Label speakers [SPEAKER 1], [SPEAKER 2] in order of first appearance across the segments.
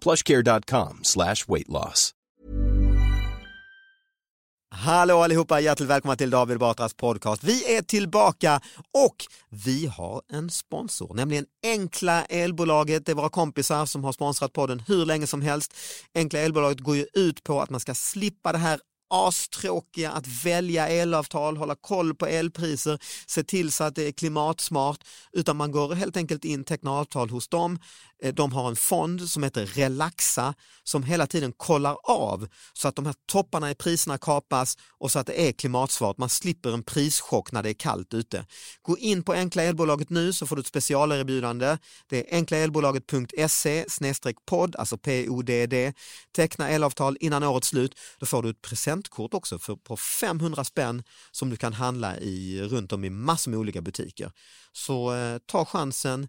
[SPEAKER 1] plushcare.com slash weight loss.
[SPEAKER 2] Hallå allihopa, hjärtligt välkomna till David Batras podcast. Vi är tillbaka och vi har en sponsor, nämligen Enkla Elbolaget. Det är våra kompisar som har sponsrat podden hur länge som helst. Enkla Elbolaget går ju ut på att man ska slippa det här astråkiga att välja elavtal, hålla koll på elpriser, se till så att det är klimatsmart, utan man går helt enkelt in, tecknar avtal hos dem. Eh, De har en fond som heter Relaxa som hela tiden kollar av så att de här topparna i priserna kapas och så att det är klimatsmart. Man slipper en prischock när det är kallt ute. Gå in på Enkla Elbolaget nu så får du ett specialerbjudande. Det är enklaelbolaget.se podd, alltså PODD. Teckna elavtal innan årets slut. Då får du ett presentkort också för, på 500 spänn som du kan handla i runt om i massor med olika butiker. Så eh, ta chansen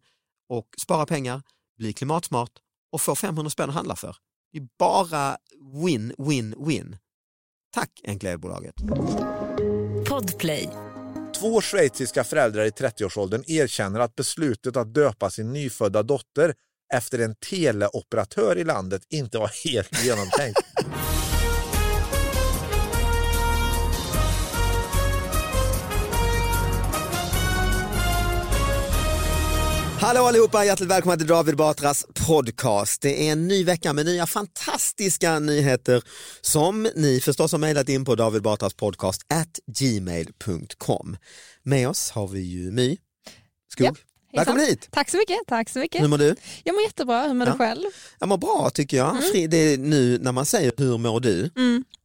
[SPEAKER 2] och spara pengar, bli klimatsmart och få 500 spänn att handla för. Det är bara win, win, win. Tack Enkla Elbolaget.
[SPEAKER 3] Podplay.
[SPEAKER 4] Två schweiziska föräldrar i 30-årsåldern erkänner att beslutet att döpa sin nyfödda dotter efter en teleoperatör i landet inte var helt genomtänkt.
[SPEAKER 2] Hallå allihopa, hjärtligt välkomna till David Batras podcast. Det är en ny vecka med nya fantastiska nyheter som ni förstås har mejlat in på davidbatraspodcast at gmail.com. Med oss har vi ju My Skog.
[SPEAKER 5] Ja, hejsan.
[SPEAKER 2] Välkommen hit!
[SPEAKER 5] Tack så mycket, tack så mycket.
[SPEAKER 2] Hur mår du?
[SPEAKER 5] Jag mår jättebra, hur mår
[SPEAKER 2] Ja.
[SPEAKER 5] du själv?
[SPEAKER 2] Jag mår bra tycker jag.
[SPEAKER 5] Mm.
[SPEAKER 2] Fri, det är nu när man säger hur mår du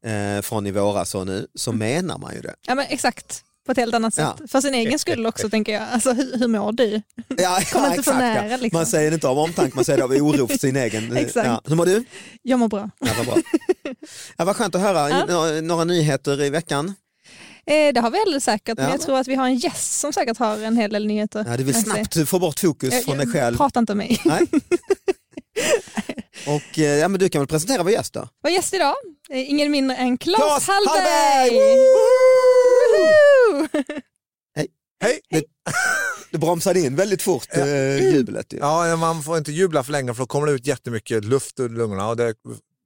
[SPEAKER 2] eh, från i våras och nu
[SPEAKER 5] Mm.
[SPEAKER 2] så menar man ju det.
[SPEAKER 5] Ja men exakt, på ett helt annat
[SPEAKER 2] Ja.
[SPEAKER 5] sätt. För sin egen skull också tänker jag. Alltså hur, hur mår du?
[SPEAKER 2] Ja,
[SPEAKER 5] Kom inte för
[SPEAKER 2] exakt,
[SPEAKER 5] nära, liksom.
[SPEAKER 2] Man säger det inte av omtanke, man säger det av oro för sin egen.
[SPEAKER 5] Exakt.
[SPEAKER 2] Ja. Hur mår du?
[SPEAKER 5] Jag mår bra.
[SPEAKER 2] Ja, vad bra. Ja, vad skönt att höra. Några, några nyheter i veckan.
[SPEAKER 5] Eh, det har vi alldeles säkert,
[SPEAKER 2] Ja.
[SPEAKER 5] men jag tror att vi har en gäst som säkert har en hel del nyheter.
[SPEAKER 2] Ja, du vill
[SPEAKER 5] Jag ser.
[SPEAKER 2] snabbt få bort fokus
[SPEAKER 5] Jag-
[SPEAKER 2] från dig
[SPEAKER 5] jag-
[SPEAKER 2] själv.
[SPEAKER 5] Prata inte om mig.
[SPEAKER 2] Nej. Och, eh, ja, men du kan väl presentera vår gäst då?
[SPEAKER 5] Vår gäst idag, eh, ingen mindre än Claes,
[SPEAKER 2] Claes Hallberg!
[SPEAKER 5] Hallberg! Woho!
[SPEAKER 4] Hej!
[SPEAKER 2] Du bromsade in väldigt fort eh, jublet. ju.
[SPEAKER 4] Ja, man får inte jubla för länge för då kommer det ut jättemycket luft ur lungorna. Och det,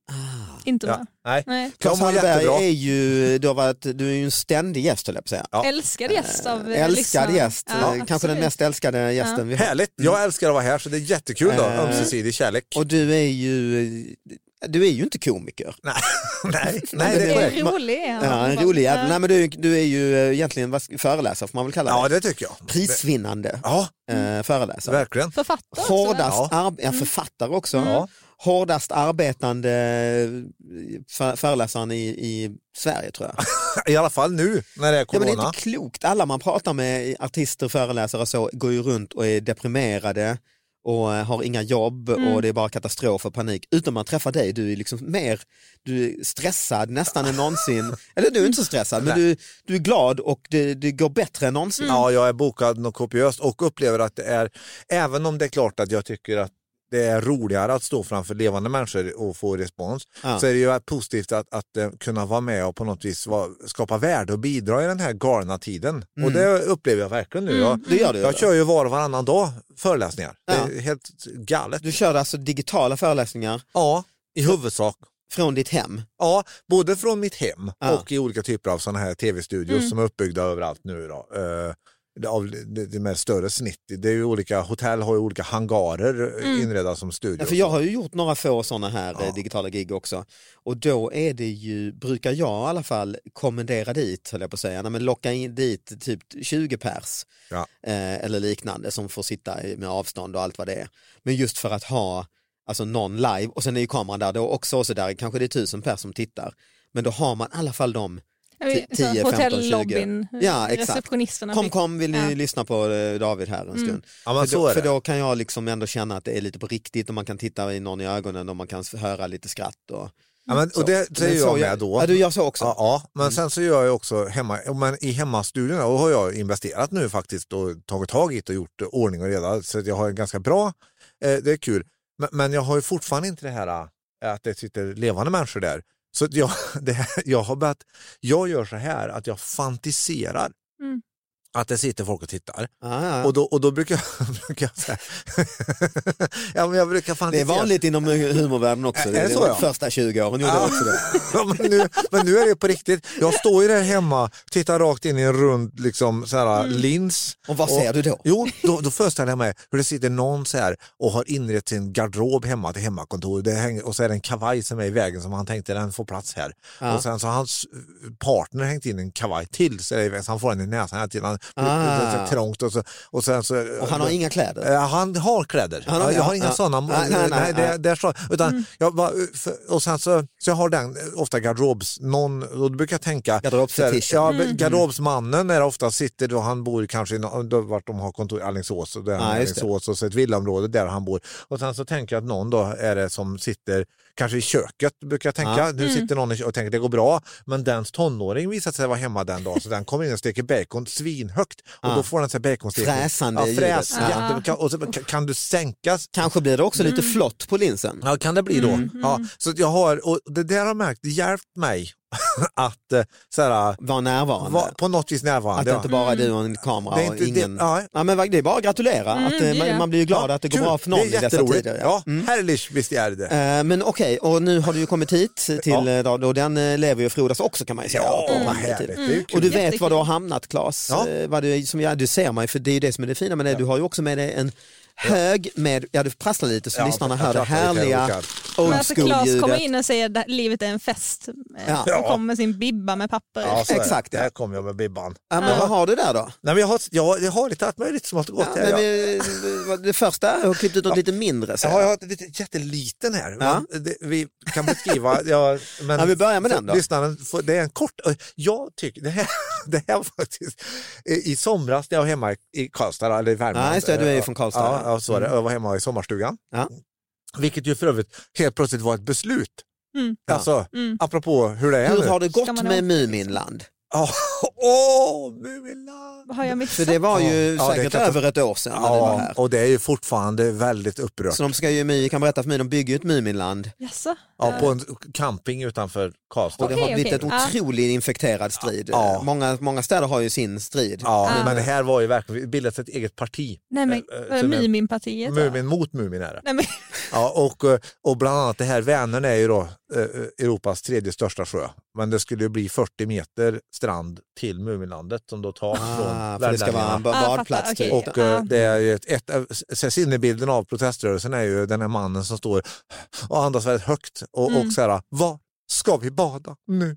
[SPEAKER 5] inte bra.
[SPEAKER 4] ja, nej.
[SPEAKER 5] Nej.
[SPEAKER 2] Claes
[SPEAKER 4] De mår
[SPEAKER 2] Hallberg
[SPEAKER 4] jättebra.
[SPEAKER 2] är ju, du har varit, du är ju en ständig gäst höll jag på att säga.
[SPEAKER 4] Ja.
[SPEAKER 5] Älskad gäst av eh,
[SPEAKER 2] Älskad
[SPEAKER 5] lyssnarna.
[SPEAKER 2] gäst,
[SPEAKER 5] Ja,
[SPEAKER 2] eh, kanske
[SPEAKER 5] absolut.
[SPEAKER 2] den mest älskade gästen vi har.
[SPEAKER 4] Härligt! Jag älskar att vara här så det är jättekul då.
[SPEAKER 2] Eh.
[SPEAKER 4] Ömsesidig kärlek.
[SPEAKER 2] Och du är ju, du är ju inte komiker.
[SPEAKER 4] Nej, nej,
[SPEAKER 2] Nej,
[SPEAKER 4] nej,
[SPEAKER 2] det
[SPEAKER 4] det är
[SPEAKER 2] är-
[SPEAKER 4] korrekt.
[SPEAKER 5] En rolig är han.
[SPEAKER 2] Ja, en rolig jävel. Nej men du, du är ju eh, egentligen vad ska- föreläsare får man väl kalla
[SPEAKER 4] Ja,
[SPEAKER 2] det.
[SPEAKER 4] det tycker jag.
[SPEAKER 2] Prisvinnande
[SPEAKER 4] Ja,
[SPEAKER 5] Mm.
[SPEAKER 2] eh, föreläsare.
[SPEAKER 4] verkligen.
[SPEAKER 5] Författare också, va?
[SPEAKER 2] Hårdast
[SPEAKER 4] Ja.
[SPEAKER 2] arbe- ja, författare också.
[SPEAKER 5] Mm.
[SPEAKER 4] Ja.
[SPEAKER 2] Hårdast arbetande eh, för- föreläsaren i, i Sverige tror jag.
[SPEAKER 4] I alla fall nu när det är
[SPEAKER 2] Ja, men
[SPEAKER 4] corona.
[SPEAKER 2] det är inte klokt. Alla man pratar med, artister, föreläsare och så, går ju runt och är deprimerade och eh, har inga jobb och det är bara katastrof och panik. Utan man träffar dig, du är liksom mer du är stressad nästan än någonsin. Eller du är inte så stressad, men du, du är glad och det, det går bättre än
[SPEAKER 4] Mm.
[SPEAKER 2] någonsin.
[SPEAKER 4] Ja, jag är bokad något kopiöst och upplever att det är, även om det är klart att jag tycker att det är roligare att stå framför levande människor och få respons
[SPEAKER 2] Ja.
[SPEAKER 4] så är det ju positivt att, att eh, kunna vara med och på något vis vara, skapa värde och bidra i den här galna tiden.
[SPEAKER 2] Mm.
[SPEAKER 4] Och det upplever jag verkligen nu. Jag,
[SPEAKER 2] Det gör du.
[SPEAKER 4] jag kör ju var och varannan dag föreläsningar.
[SPEAKER 2] Mm. Ja.
[SPEAKER 4] Det är helt galet.
[SPEAKER 2] Du kör alltså digitala föreläsningar
[SPEAKER 4] Ja, i huvudsak.
[SPEAKER 2] från ditt hem?
[SPEAKER 4] Ja, både från mitt hem
[SPEAKER 2] Ja. Mm.
[SPEAKER 4] och i olika typer av sådana här tv-studios som är uppbyggda överallt nu. Då. Eh, det- av det, det med större snitt. Det är ju olika, hotell har ju olika hangarer mm. inredda som studios.
[SPEAKER 2] Ja, för jag har ju gjort några få sådana här eh, digitala gig också. Och då är det ju, brukar jag i alla fall kommendera dit, höll jag på att säga, Nej, men locka in dit typ 20 pers
[SPEAKER 4] Ja.
[SPEAKER 2] eh, eller liknande som får sitta i- med avstånd och allt vad det är. Men just för att ha alltså någon live och sen är ju kameran där då också och så där kanske det är tusen pers som tittar. Men då har man i alla fall de
[SPEAKER 5] vi-
[SPEAKER 2] 10,
[SPEAKER 5] så
[SPEAKER 2] 15, 20.
[SPEAKER 5] hotellobbyn,
[SPEAKER 2] Ja, exakt.
[SPEAKER 5] receptionisterna.
[SPEAKER 2] Kom
[SPEAKER 5] fick-
[SPEAKER 2] kom vill ni
[SPEAKER 5] Ja. Mm.
[SPEAKER 2] lyssna på eh, David här en stund.
[SPEAKER 4] Ja, men
[SPEAKER 2] för,
[SPEAKER 4] så
[SPEAKER 2] då,
[SPEAKER 4] är
[SPEAKER 2] för
[SPEAKER 4] det.
[SPEAKER 2] då kan jag liksom ändå känna att det är lite på riktigt och man kan titta i någon i ögonen och man kan s- höra lite skratt. Och,
[SPEAKER 4] ja, men, och det
[SPEAKER 2] Men
[SPEAKER 4] säger
[SPEAKER 2] så
[SPEAKER 4] jag med då.
[SPEAKER 2] Ja, du gör så också. Mm.
[SPEAKER 4] Ja, ja, men sen så gör jag också hemma, ja, men i hemmastudion och har jag investerat nu faktiskt och tagit tag i det och gjort eh, ordning och reda så att jag har en ganska bra, eh, det är kul. Men, men jag har ju fortfarande inte det här eh, att det sitter levande människor där. Så att jag, det här, jag har börjat, jag gör så här att jag fantiserar
[SPEAKER 5] Mm.
[SPEAKER 4] att det sitter folk och tittar.
[SPEAKER 2] Ja, Ah, ja.
[SPEAKER 4] Och, då, och då brukar jag, brukar jag säga, ja, men jag brukar
[SPEAKER 2] det är
[SPEAKER 4] fantisera.
[SPEAKER 2] vanligt inom humorvärlden också.
[SPEAKER 4] Är det så, ja?
[SPEAKER 2] Första 20 åren gjorde jag också det.
[SPEAKER 4] Ja, men, nu, men nu är det på riktigt. Jag står ju där hemma, tittar rakt in i en rund liksom, så här, lins.
[SPEAKER 2] Och vad ser du då?
[SPEAKER 4] Jo, då, då föreställer jag mig hur det sitter någon så här och har inrett sin garderob hemma till hemmakontoret. Det hänger, och så är det en kavaj som är i vägen som han tänkte den får plats här.
[SPEAKER 2] Ja.
[SPEAKER 4] Och sen så har hans partner hängt in en kavaj till så, är det, i vägen, så han får den i näsan hela tiden. Han,
[SPEAKER 2] Ah.
[SPEAKER 4] det är så trångt och, så, och sen så...
[SPEAKER 2] Och han har inga kläder.
[SPEAKER 4] Eh, Han har kläder.
[SPEAKER 2] Han har-
[SPEAKER 4] jag har
[SPEAKER 2] ja,
[SPEAKER 4] inga
[SPEAKER 2] ja.
[SPEAKER 4] sådana.
[SPEAKER 2] Nej, nej, nej,
[SPEAKER 4] nej, det,
[SPEAKER 2] nej. Mm.
[SPEAKER 4] det är så. Utan jag bara, för, och sen så, så jag har den eh, ofta garderobs, någon, och då brukar jag tänka,
[SPEAKER 2] Garderobsfetischen.
[SPEAKER 4] så här, ja, men garderobsmannen är ofta sitter då han bor kanske i nå- då, vart de har kontor, i Alingsås, och, där
[SPEAKER 2] Ja,
[SPEAKER 4] han är i
[SPEAKER 2] just det.
[SPEAKER 4] Alingsås och så ett villaområde där han bor. Och sen så tänker jag att någon då är det som sitter Kanske i köket brukar jag tänka. Nu
[SPEAKER 2] Mm.
[SPEAKER 4] sitter någon i kö- och tänker det går bra. Men dens tonåring visar sig vara hemma den dagen så den kommer in och steker bacon svinhögt. Och
[SPEAKER 2] Ja.
[SPEAKER 4] då får den sig baconstekning.
[SPEAKER 2] Fräsande
[SPEAKER 4] ja,
[SPEAKER 2] ljudet.
[SPEAKER 4] fräs,
[SPEAKER 2] Ja.
[SPEAKER 4] jätte- kan, och så, kan- kan du sänkas?
[SPEAKER 2] Kanske blir det också lite flott på linsen.
[SPEAKER 4] mm. Ja, kan det bli då.
[SPEAKER 2] Mm-hmm.
[SPEAKER 4] Ja, så att jag har, och det där har jag märkt, det hjälpt mig att eh, så här,
[SPEAKER 2] Var närvarande.
[SPEAKER 4] vara på något vis
[SPEAKER 2] att
[SPEAKER 4] närvarande.
[SPEAKER 2] det
[SPEAKER 4] ja. Mm.
[SPEAKER 2] inte bara är du och en kamera
[SPEAKER 4] Det är
[SPEAKER 2] och
[SPEAKER 4] inte det-
[SPEAKER 2] ingen...
[SPEAKER 4] ja.
[SPEAKER 2] ja, men det är bara att gratulera. att,
[SPEAKER 5] Mm,
[SPEAKER 2] eh,
[SPEAKER 5] det är
[SPEAKER 2] man,
[SPEAKER 5] det.
[SPEAKER 2] man blir ju glad
[SPEAKER 4] Ja,
[SPEAKER 2] att det
[SPEAKER 4] kul.
[SPEAKER 2] går bra för någon
[SPEAKER 4] Det
[SPEAKER 2] i
[SPEAKER 4] är
[SPEAKER 2] dessa
[SPEAKER 4] jätteroligt.
[SPEAKER 2] tider. Mm.
[SPEAKER 4] Ja, herrlich visst är det.
[SPEAKER 2] Eh, Men okej, och nu har du ju kommit hit till
[SPEAKER 4] Ja.
[SPEAKER 2] eh, David och den eh, lever ju och frodas också kan man ju säga.
[SPEAKER 4] Ja,
[SPEAKER 2] på den
[SPEAKER 4] vad
[SPEAKER 2] här tiden.
[SPEAKER 4] härligt. Det är ju kul.
[SPEAKER 2] Och du vet
[SPEAKER 5] Jättekul.
[SPEAKER 2] var du har hamnat Claes.
[SPEAKER 4] Ja.
[SPEAKER 2] Eh, Vad du, som, ja, du ser mig, för det är ju det som är det fina med det. Du har ju också med dig en hög med, ja du prasslar lite så
[SPEAKER 4] Ja,
[SPEAKER 2] lyssnarna
[SPEAKER 4] jag
[SPEAKER 2] hör det
[SPEAKER 4] prasslar lite, jag
[SPEAKER 2] härliga
[SPEAKER 4] orkar.
[SPEAKER 2] old
[SPEAKER 5] Men alltså Claes kommer
[SPEAKER 2] school-ljudet.
[SPEAKER 5] in och säger att livet är en fest.
[SPEAKER 2] Ja.
[SPEAKER 5] Ja. Och kommer med sin bibba med papper.
[SPEAKER 4] Ja, så är det.
[SPEAKER 2] Exakt, ja.
[SPEAKER 4] Där kom jag med Bibban.
[SPEAKER 2] Ja, men vad har du där då?
[SPEAKER 4] Nej, men jag, har, jag, jag har lite att mig lite smått och
[SPEAKER 2] Ja,
[SPEAKER 4] gott. här,
[SPEAKER 2] men,
[SPEAKER 4] ja.
[SPEAKER 2] vi- det första, jag har klippt ut något lite mindre. Så.
[SPEAKER 4] Ja, jag har lite, jätteliten här.
[SPEAKER 2] Ja.
[SPEAKER 4] Men det, vi kan beskriva... Ja, men
[SPEAKER 2] Ja, vi börjar med den då.
[SPEAKER 4] Lyssnaren, får- det är en kort... Jag tycker det här, det här faktiskt... I somras när jag var hemma i Karlstad, eller i Värmland.
[SPEAKER 2] Ja, just det, du är ju från Karlstad,
[SPEAKER 4] Ja,
[SPEAKER 2] ja.
[SPEAKER 4] ja så var det. Jag var hemma i sommarstugan.
[SPEAKER 2] Ja.
[SPEAKER 4] Vilket ju för övrigt helt plötsligt var ett beslut.
[SPEAKER 5] Mm.
[SPEAKER 4] Alltså, apropå hur det är
[SPEAKER 2] Hur
[SPEAKER 4] nu.
[SPEAKER 2] har det
[SPEAKER 5] Ska
[SPEAKER 2] gått
[SPEAKER 5] man
[SPEAKER 2] med
[SPEAKER 5] ha-
[SPEAKER 2] Muminland?
[SPEAKER 4] Ja, Åh, Muminland!
[SPEAKER 5] Vad har jag
[SPEAKER 2] För
[SPEAKER 5] missat?
[SPEAKER 2] det var ju
[SPEAKER 4] Ja, det
[SPEAKER 2] säkert
[SPEAKER 4] kan jag ta-
[SPEAKER 2] över ett år sedan när du var
[SPEAKER 4] Ja,
[SPEAKER 2] här.
[SPEAKER 4] och det är ju fortfarande väldigt upprört.
[SPEAKER 2] Så de ska ju, jag kan berätta för mig, de bygger ju ett Muminland
[SPEAKER 5] Jaså? Eh,
[SPEAKER 4] Ja, på en camping utanför Karlstad.
[SPEAKER 2] och det har
[SPEAKER 5] Okej,
[SPEAKER 2] blivit
[SPEAKER 5] okej.
[SPEAKER 2] en otroligt infekterad strid.
[SPEAKER 4] Ja.
[SPEAKER 2] Många, många städer har ju sin strid.
[SPEAKER 4] Ja, men det här var ju verkligen, vi bildade ett eget parti.
[SPEAKER 5] Nej men,
[SPEAKER 4] Eh, eh,
[SPEAKER 5] var det
[SPEAKER 4] som är-
[SPEAKER 5] Muminpartiet? va?
[SPEAKER 4] Mumin mot Mumin är det.
[SPEAKER 5] Nej, men,
[SPEAKER 4] Ja, och, eh, och bland annat det här, Vänern är ju då eh, eh, Europas tredje största sjö. Men det skulle ju bli 40 meter strand till Muminlandet som då tas
[SPEAKER 2] Ah,
[SPEAKER 4] från
[SPEAKER 2] för det ska vara
[SPEAKER 4] värmlänningarna.
[SPEAKER 2] en ba-
[SPEAKER 5] Ah, jag
[SPEAKER 2] badplats
[SPEAKER 5] fattar,
[SPEAKER 2] typ.
[SPEAKER 5] okej.
[SPEAKER 4] Och eh, det är ju ett, ett, av- så sinnebilden av proteströrelsen är ju den här mannen som står och andas väldigt högt och, och så här, vad ska vi bada nu?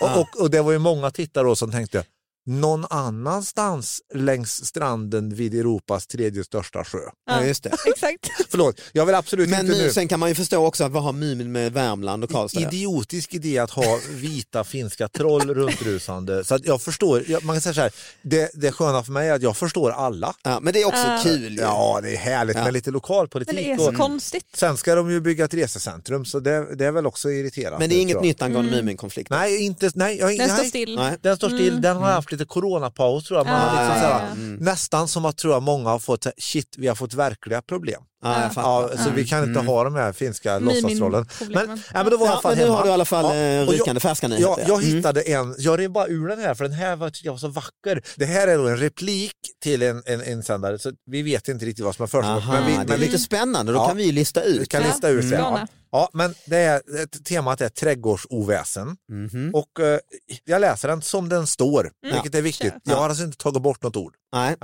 [SPEAKER 2] Ja.
[SPEAKER 4] Och, och, och det var ju många tittare då som tänkte, någon annanstans längs stranden vid Europas tredje största sjö.
[SPEAKER 2] Ja, just det.
[SPEAKER 5] exakt.
[SPEAKER 4] Förlåt, jag vill absolut
[SPEAKER 2] Men
[SPEAKER 4] inte nu...
[SPEAKER 2] nu, sen kan man ju förstå också att vad har Mumin med Värmland och Karlstad? att göra?
[SPEAKER 4] Idiotisk idé att ha vita finska troll runtrusande. Så att jag förstår, jag, man kan säga så här, det, det sköna för mig är att jag förstår alla.
[SPEAKER 2] Ja, men det är också kul. ju.
[SPEAKER 4] Ja, det är härligt
[SPEAKER 2] Ja.
[SPEAKER 4] med lite lokalpolitik.
[SPEAKER 5] Men det är så
[SPEAKER 4] och-
[SPEAKER 5] konstigt.
[SPEAKER 4] Sen ska de ju bygga ett resecentrum så det, det är väl också irriterande.
[SPEAKER 2] Men det är inget
[SPEAKER 4] tror jag.
[SPEAKER 5] Mm.
[SPEAKER 2] nytt angående Muminkonflikten.
[SPEAKER 4] Nej, inte, nej, jag,
[SPEAKER 5] Den
[SPEAKER 4] nej.
[SPEAKER 5] står still. Mm.
[SPEAKER 2] Nej.
[SPEAKER 4] Den står still, den har jag haft lite coronapaus tror jag. Man
[SPEAKER 5] Ja,
[SPEAKER 4] har liksom
[SPEAKER 5] ja,
[SPEAKER 4] så här,
[SPEAKER 5] ja, ja.
[SPEAKER 2] Mm.
[SPEAKER 4] Nästan som att tror jag många har fått, så här, shit vi har fått verkliga problem.
[SPEAKER 2] Ja, jag
[SPEAKER 4] Ja,
[SPEAKER 2] fattar. Mm.
[SPEAKER 4] så vi kan inte ha de här finska låtsasrollen. Men,
[SPEAKER 5] Miminproblemen.
[SPEAKER 4] ja, men då var jag i
[SPEAKER 2] Ja, men nu
[SPEAKER 4] alla fall hemma.
[SPEAKER 2] har du i alla fall
[SPEAKER 4] Ja,
[SPEAKER 2] eh,
[SPEAKER 4] och jag-
[SPEAKER 2] rykande färska
[SPEAKER 4] Ja,
[SPEAKER 2] nyheter.
[SPEAKER 4] jag
[SPEAKER 2] Mm.
[SPEAKER 4] hittade en, jag rev bara ur den här för den här var, tyckte jag var så vacker. Det här är då en replik till en, en insändare så vi vet inte riktigt vad som har försiggått.
[SPEAKER 2] Aha,
[SPEAKER 4] Men vi,
[SPEAKER 2] det är
[SPEAKER 4] men
[SPEAKER 2] lite
[SPEAKER 4] vi
[SPEAKER 2] spännande, då
[SPEAKER 4] Ja.
[SPEAKER 2] kan vi ju lista
[SPEAKER 4] vi
[SPEAKER 2] ut.
[SPEAKER 4] kan
[SPEAKER 5] Ja.
[SPEAKER 4] lista ut det. Ja.
[SPEAKER 5] Gärna.
[SPEAKER 4] Ja, men det är, ett- temat är trädgårdsoväsen
[SPEAKER 2] Mhm.
[SPEAKER 4] och eh, jag läser den som den står, vilket är viktigt.
[SPEAKER 5] Kör.
[SPEAKER 4] Jag har alltså inte tagit bort något ord.
[SPEAKER 2] Nej.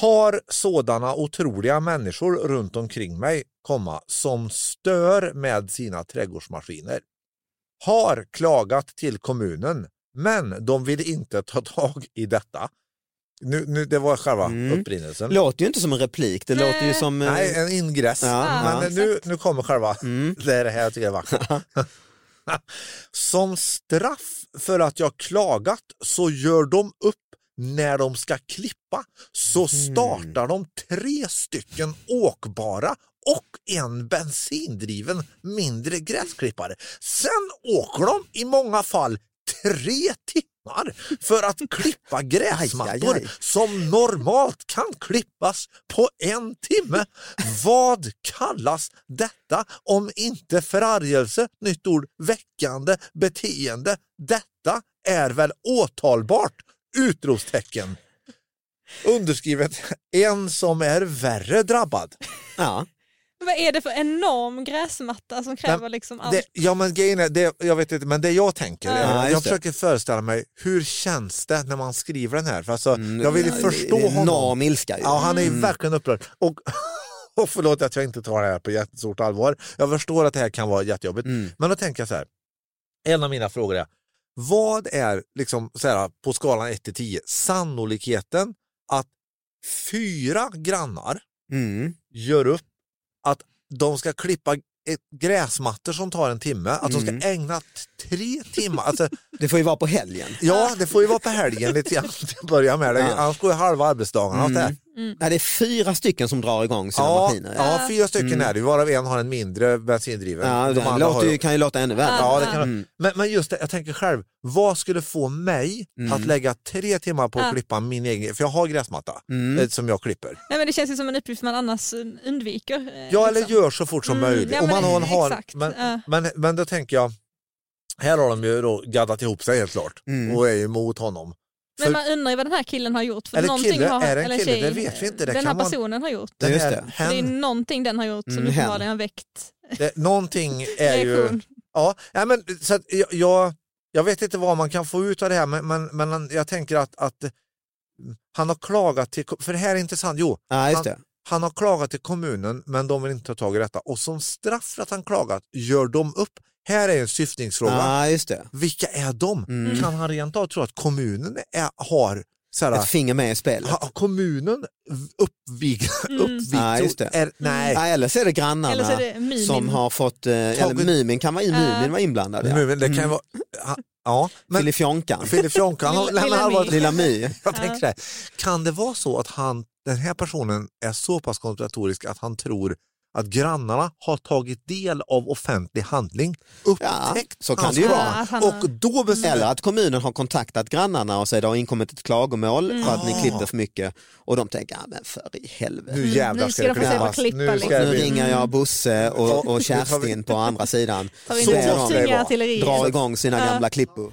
[SPEAKER 4] Har sådana otroliga människor runt omkring mig, komma, som stör med sina trädgårdsmaskiner. Har klagat till kommunen, men de vill inte ta tag i detta. Nu, nu, det var själva
[SPEAKER 2] Mm.
[SPEAKER 4] upprinnelsen.
[SPEAKER 2] Låter ju inte som en replik, det
[SPEAKER 5] Nej.
[SPEAKER 2] låter ju som... eh,
[SPEAKER 4] Nej, en ingress.
[SPEAKER 2] Ja,
[SPEAKER 4] men
[SPEAKER 2] ja.
[SPEAKER 4] nu, nu kommer själva
[SPEAKER 2] Mm.
[SPEAKER 4] det är det här jag tycker är vackert. Som straff för att jag klagat så gör de upp när de ska klippa
[SPEAKER 2] Mhm.
[SPEAKER 4] så startar de tre stycken åkbara och en bensindriven mindre gräsklippare. Sen åker de i många fall tre timmar för att klippa
[SPEAKER 2] Aj, aj,
[SPEAKER 4] gräsmattor
[SPEAKER 2] aj.
[SPEAKER 4] som normalt kan klippas på en timme. Vad kallas detta om inte förargelse, nytt ord, väckande beteende? Detta är väl åtalbart? Utropstecken. Underskrivet en som är värre drabbad.
[SPEAKER 2] Ja.
[SPEAKER 5] Vad är det för enorm gräsmatta som kräver liksom allt?
[SPEAKER 4] Det, ja men grejen är, det, jag vet inte, men det jag tänker,
[SPEAKER 2] Ja,
[SPEAKER 4] är, jag
[SPEAKER 2] just det.
[SPEAKER 4] försöker föreställa mig hur känns det när man skriver den här? För alltså,
[SPEAKER 2] Mm,
[SPEAKER 4] jag vill ju
[SPEAKER 2] det-
[SPEAKER 4] förstå
[SPEAKER 2] det är
[SPEAKER 4] honom.
[SPEAKER 2] Enorm ilska ju.
[SPEAKER 4] Ja, han är
[SPEAKER 2] Mm.
[SPEAKER 4] ju verkligen upprörd. Och, och förlåt att jag inte tar det här på jättestort allvar. Jag förstår att det här kan vara jättejobbigt.
[SPEAKER 2] Mm.
[SPEAKER 4] Men då tänker jag så här. En av mina frågor är, vad är liksom så här, på skalan 1 till 10 sannolikheten att fyra grannar
[SPEAKER 2] Mm.
[SPEAKER 4] gör upp att de ska klippa ett gräsmattor som tar en timme, att de
[SPEAKER 2] Mm.
[SPEAKER 4] ska ägna t- tre timmar. Alltså,
[SPEAKER 2] Det får ju vara på helgen.
[SPEAKER 5] Mm.
[SPEAKER 4] ja, det får ju vara på helgen lite grann till att börja med.
[SPEAKER 2] Ja. Mm.
[SPEAKER 4] Annars går ju halva arbetsdagarna åt det här.
[SPEAKER 2] Ja, det är fyra stycken som drar igång sina
[SPEAKER 4] Ja,
[SPEAKER 2] maskiner. Ja.
[SPEAKER 4] ja, fyra stycken är det, varav en har en mindre bensindriven.
[SPEAKER 2] Mm. Ja,
[SPEAKER 4] De
[SPEAKER 2] det
[SPEAKER 4] andra har
[SPEAKER 2] låter
[SPEAKER 4] ju-
[SPEAKER 2] ju, kan ju låta ännu värre.
[SPEAKER 4] Ja, det kan
[SPEAKER 2] Mm.
[SPEAKER 4] men, men just det, jag tänker själv, vad skulle få mig
[SPEAKER 2] Mm.
[SPEAKER 4] att lägga tre timmar på att klippa min egen, för jag har gräsmatta
[SPEAKER 2] Mm.
[SPEAKER 4] eh, som jag klipper.
[SPEAKER 5] Nej, men det känns ju som en uppgift man annars eh, undviker. eh,
[SPEAKER 4] Ja, eller
[SPEAKER 5] liksom.
[SPEAKER 4] gör så fort som
[SPEAKER 5] Mm,
[SPEAKER 4] möjligt.
[SPEAKER 5] ja,
[SPEAKER 4] Om
[SPEAKER 5] men
[SPEAKER 4] man har en har,
[SPEAKER 5] exakt,
[SPEAKER 4] men,
[SPEAKER 5] ja.
[SPEAKER 4] men, men då tänker jag, här har de ju då gaddat ihop sig helt klart
[SPEAKER 2] Mm.
[SPEAKER 4] och är emot honom.
[SPEAKER 5] Men man undrar ju vad den här killen har gjort. För
[SPEAKER 4] Eller
[SPEAKER 5] någonting
[SPEAKER 4] kille,
[SPEAKER 5] har,
[SPEAKER 4] är det en
[SPEAKER 5] eller en
[SPEAKER 4] kille?
[SPEAKER 5] tjej,
[SPEAKER 4] Det vet vi inte. Det
[SPEAKER 5] den
[SPEAKER 4] kan
[SPEAKER 5] här
[SPEAKER 4] vara en-
[SPEAKER 5] personen har gjort.
[SPEAKER 4] Den
[SPEAKER 2] Just
[SPEAKER 4] här,
[SPEAKER 2] det.
[SPEAKER 5] Det är
[SPEAKER 4] hen,
[SPEAKER 5] någonting den har gjort som
[SPEAKER 2] Mm, hen.
[SPEAKER 5] uppenbarligen har väckt
[SPEAKER 4] det, någonting är ju...
[SPEAKER 5] reaktion.
[SPEAKER 4] Ja, ja, men, så att, jag- jag, jag vet inte vad man kan få ut av det här men, men, men han- jag tänker att, att mm, han har klagat till... För det här är intressant. Jo,
[SPEAKER 2] Ja, just det.
[SPEAKER 4] Han har klagat till kommunen men de vill inte ta tag i detta och som straff för att han klagat gör de upp. Här är en syftningsfråga.
[SPEAKER 2] Ja, just det.
[SPEAKER 4] Vilka är de?
[SPEAKER 2] Mm.
[SPEAKER 4] Kan han rent av tro att kommunen är, har så här,
[SPEAKER 2] Ett finger med i spelet.
[SPEAKER 4] ha, har kommunen uppvig,
[SPEAKER 5] Mm.
[SPEAKER 4] uppvigtro?
[SPEAKER 2] Ja, just det.
[SPEAKER 4] Är, nej,
[SPEAKER 2] Ja, eller så är det grannarna
[SPEAKER 5] Eller så är det Mumin.
[SPEAKER 2] som har fått, eh, eller
[SPEAKER 4] Tagit-
[SPEAKER 2] Mumin kan vara, Mumin
[SPEAKER 5] Ja.
[SPEAKER 2] var inblandad.
[SPEAKER 4] Nu,
[SPEAKER 2] Ja.
[SPEAKER 4] men det kan ju vara... ha- Ja, men
[SPEAKER 2] Filifjonkan,
[SPEAKER 4] Filip Jonkan har
[SPEAKER 5] Lilla-
[SPEAKER 4] lämnat allvarligt.
[SPEAKER 2] Lilla My.
[SPEAKER 4] Jag tänker så här, kan det vara så att han, den här personen är så pass konspiratorisk att han tror att grannarna har tagit del av offentlig handling,
[SPEAKER 2] Ja,
[SPEAKER 4] upptäckt
[SPEAKER 2] så kan
[SPEAKER 4] hans
[SPEAKER 2] det ju
[SPEAKER 4] plan
[SPEAKER 5] Ja,
[SPEAKER 2] vara.
[SPEAKER 5] att han har-
[SPEAKER 4] och då bestämmer
[SPEAKER 2] Eller att kommunen har kontaktat grannarna och säger det har inkommit ett klagomål
[SPEAKER 5] Mm.
[SPEAKER 2] för att ni klippte för mycket och de tänker, ja men för i helvete.
[SPEAKER 4] nu jävlar
[SPEAKER 5] nu ska
[SPEAKER 4] ska det
[SPEAKER 5] de få se vad
[SPEAKER 4] klippas.
[SPEAKER 5] klippa
[SPEAKER 4] Nu ska
[SPEAKER 5] liksom.
[SPEAKER 2] Nu
[SPEAKER 4] det bli-
[SPEAKER 2] ringer jag Bosse och, och Kerstin på andra sidan.
[SPEAKER 5] Tar vi
[SPEAKER 2] Så
[SPEAKER 5] inte
[SPEAKER 2] de
[SPEAKER 5] två
[SPEAKER 4] det
[SPEAKER 5] tunga
[SPEAKER 4] vara.
[SPEAKER 5] artillerier.
[SPEAKER 2] drar igång sina gamla klippor.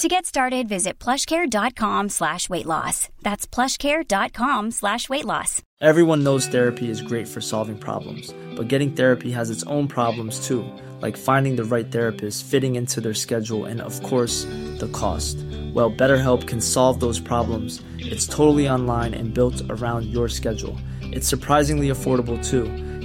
[SPEAKER 6] To get started, visit plushcare.com slash weight loss. That's plushcare.com slash weight loss.
[SPEAKER 7] Everyone knows therapy is great for solving problems, but getting therapy has its own problems too, like finding the right therapist, fitting into their schedule, and of course, the cost. Well, BetterHelp can solve those problems. It's totally online and built around your schedule. It's surprisingly affordable too.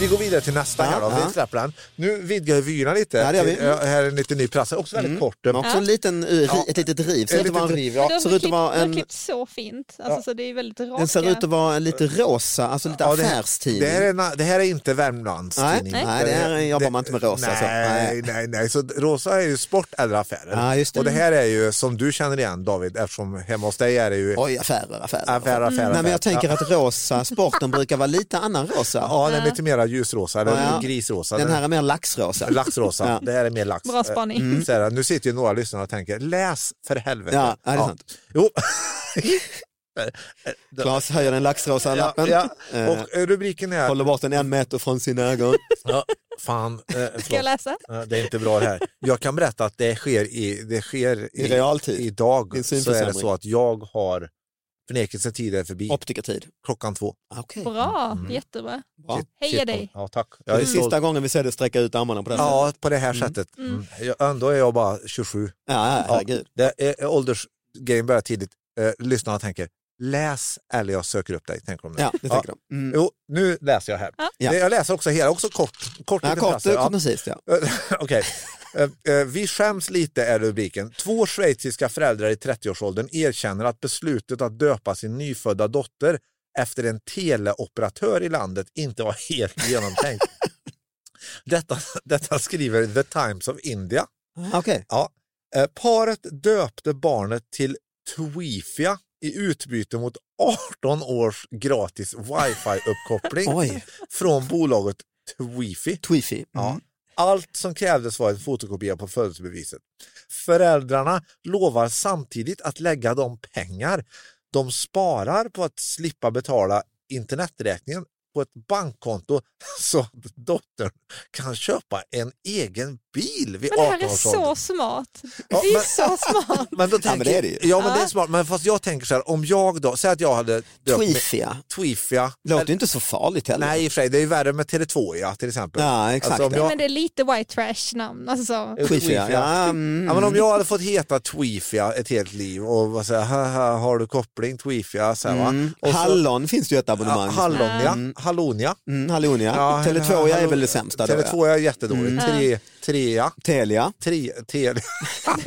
[SPEAKER 4] Vi går vidare till nästa här då.
[SPEAKER 2] Ja.
[SPEAKER 4] Vi släpper den. Nu vidgar vi vyerna lite.
[SPEAKER 2] Ja, det gör vi. Mm.
[SPEAKER 4] Till- ja, Här är en liten ny plats. Också väldigt kort.
[SPEAKER 2] Men också en liten, eh, ri-
[SPEAKER 4] Ja.
[SPEAKER 2] ett litet riv. Ser
[SPEAKER 4] Ett
[SPEAKER 2] ut att vara en
[SPEAKER 4] litet-
[SPEAKER 2] riv.
[SPEAKER 5] Men
[SPEAKER 2] Ja.
[SPEAKER 5] de
[SPEAKER 2] Ser ut att
[SPEAKER 5] klippt-
[SPEAKER 2] vara
[SPEAKER 5] de har
[SPEAKER 2] en,
[SPEAKER 5] klippt så fint, alltså, så det är väldigt raka.
[SPEAKER 2] den ser ut att vara en lite rosa, alltså lite
[SPEAKER 4] Ja, det, här,
[SPEAKER 2] affärstidning.
[SPEAKER 4] det, här är, na- det här är inte Värmlands
[SPEAKER 2] Nej,
[SPEAKER 4] tidning.
[SPEAKER 2] nej. det här jobbar man inte med rosa.
[SPEAKER 4] Nej,
[SPEAKER 2] Så. Nej.
[SPEAKER 4] nej, nej. Så rosa är ju sport eller affärer.
[SPEAKER 2] Ja, just det.
[SPEAKER 4] Och det här är ju som du känner igen David, eftersom hemma hos dig är det ju...
[SPEAKER 2] Oj, affärer, affärer.
[SPEAKER 4] Affärer, affärer,
[SPEAKER 2] Nej, men
[SPEAKER 4] affärer.
[SPEAKER 2] jag tänker
[SPEAKER 4] Ja.
[SPEAKER 2] att rosa, sporten brukar vara lite annan rosa.
[SPEAKER 4] Ja, den är lite mera ljusrosa, eller
[SPEAKER 2] Ja.
[SPEAKER 4] grisrosa.
[SPEAKER 2] Den här är mer laxrosa.
[SPEAKER 4] Laxrosa,
[SPEAKER 2] Ja.
[SPEAKER 4] det här är mer lax.
[SPEAKER 5] Bra spaning.
[SPEAKER 4] Mm. Så här, nu sitter ju några lyssnare och tänker, läs för helvete.
[SPEAKER 2] Ja, ja, det är sant.
[SPEAKER 4] Jo.
[SPEAKER 2] Klas höjer den laxrosa
[SPEAKER 4] ja,
[SPEAKER 2] lappen,
[SPEAKER 4] ja.
[SPEAKER 2] eh,
[SPEAKER 4] Och eh, rubriken är...
[SPEAKER 2] håller bort den en meter från sina ögon.
[SPEAKER 4] Ja, fan, eh, förlåt.
[SPEAKER 5] Ska jag läsa?
[SPEAKER 4] Ja, Det är inte bra det här. Jag kan berätta att det sker i, det sker
[SPEAKER 2] I realtid.
[SPEAKER 4] Idag
[SPEAKER 2] Din
[SPEAKER 4] så är det
[SPEAKER 2] synförsämring.
[SPEAKER 4] så att jag har förnekelsetid är förbi
[SPEAKER 2] Optikertid. Ah,
[SPEAKER 4] klockan två.
[SPEAKER 2] Okej.
[SPEAKER 5] Bra, jättebra.
[SPEAKER 2] Bra.
[SPEAKER 5] Heja
[SPEAKER 4] Mm. Shit.
[SPEAKER 5] dig.
[SPEAKER 4] Ja, tack.
[SPEAKER 2] Det är
[SPEAKER 4] Jag är stolt.
[SPEAKER 2] sista gången vi ser dig sträcka ut armarna på det här sättet.
[SPEAKER 4] Ja, på det här sättet. Mm. Jag, ändå är jag bara 27.
[SPEAKER 2] Ja,
[SPEAKER 4] Ja,
[SPEAKER 2] herregud.
[SPEAKER 4] det är, åldersgrejen börjar tidigt. Eh, lyssnarna tänker läs eller jag söker upp dig. Tänker de nu.
[SPEAKER 2] Ja, det tänker de. Mm.
[SPEAKER 4] Jo, nu läser jag här.
[SPEAKER 2] Ja.
[SPEAKER 4] Det- Jag läser också hela, också kort. kort
[SPEAKER 2] Ja,
[SPEAKER 4] liten
[SPEAKER 2] kort,
[SPEAKER 4] frasser. Ja.
[SPEAKER 2] koncist ja.
[SPEAKER 4] Okej. Eh, eh, Vi skäms lite är rubriken. Två schweiziska föräldrar i 30-årsåldern erkänner att beslutet att döpa sin nyfödda dotter efter en teleoperatör i landet inte var helt genomtänkt. detta, detta skriver The Times of India.
[SPEAKER 2] Okej.
[SPEAKER 4] Ja. Eh, Paret döpte barnet till Twifia i utbyte mot 18 års gratis wifi-uppkoppling
[SPEAKER 2] Oj.
[SPEAKER 4] från bolaget Twifi.
[SPEAKER 2] Twifi. Mm.
[SPEAKER 4] Allt som krävdes var en fotokopia på födelsebeviset. Föräldrarna lovar samtidigt att lägga de pengar de sparar på att slippa betala interneträkningen på ett bankkonto så att dottern kan köpa en egen bil vid
[SPEAKER 5] Men det här
[SPEAKER 4] 18
[SPEAKER 5] är
[SPEAKER 4] års
[SPEAKER 5] så
[SPEAKER 4] ålder.
[SPEAKER 5] smart.
[SPEAKER 4] Ja,
[SPEAKER 5] Det är så
[SPEAKER 4] men-
[SPEAKER 5] smart.
[SPEAKER 4] Men, då
[SPEAKER 2] Ja, men
[SPEAKER 4] tänker,
[SPEAKER 2] det är det ju.
[SPEAKER 4] Ja, men det är
[SPEAKER 5] Ja.
[SPEAKER 4] smart. Men fast jag tänker så här, om jag då, säg att jag hade döpt mig-
[SPEAKER 2] Twifia.
[SPEAKER 4] Twifia.
[SPEAKER 2] Låter ju inte så farligt heller.
[SPEAKER 4] Nej, i och för sig, det är ju värre med Tele2 ja, till exempel.
[SPEAKER 2] Ja, exakt.
[SPEAKER 4] Alltså, om
[SPEAKER 5] Nej,
[SPEAKER 4] jag-
[SPEAKER 5] men det är lite white trash namn. Alltså.
[SPEAKER 2] Twifia. Ja,
[SPEAKER 4] Ja,
[SPEAKER 2] mm.
[SPEAKER 4] men om jag hade fått heta Twifia ett helt liv och var så här, haha, har du koppling Twifia? Så här, va?
[SPEAKER 2] Mm.
[SPEAKER 4] Och så,
[SPEAKER 2] Hallon finns det ju ett
[SPEAKER 4] ja,
[SPEAKER 2] abonnemang.
[SPEAKER 4] Hallonia, Hallonia.
[SPEAKER 2] Mm, hallon ja.
[SPEAKER 4] Ja,
[SPEAKER 2] Tele2 ja, är
[SPEAKER 4] hallon-
[SPEAKER 2] väl det sämsta då ja. Mm.
[SPEAKER 4] Tele2 är jättedåligt. Tre, trea,
[SPEAKER 2] Telia.
[SPEAKER 4] tre, tele.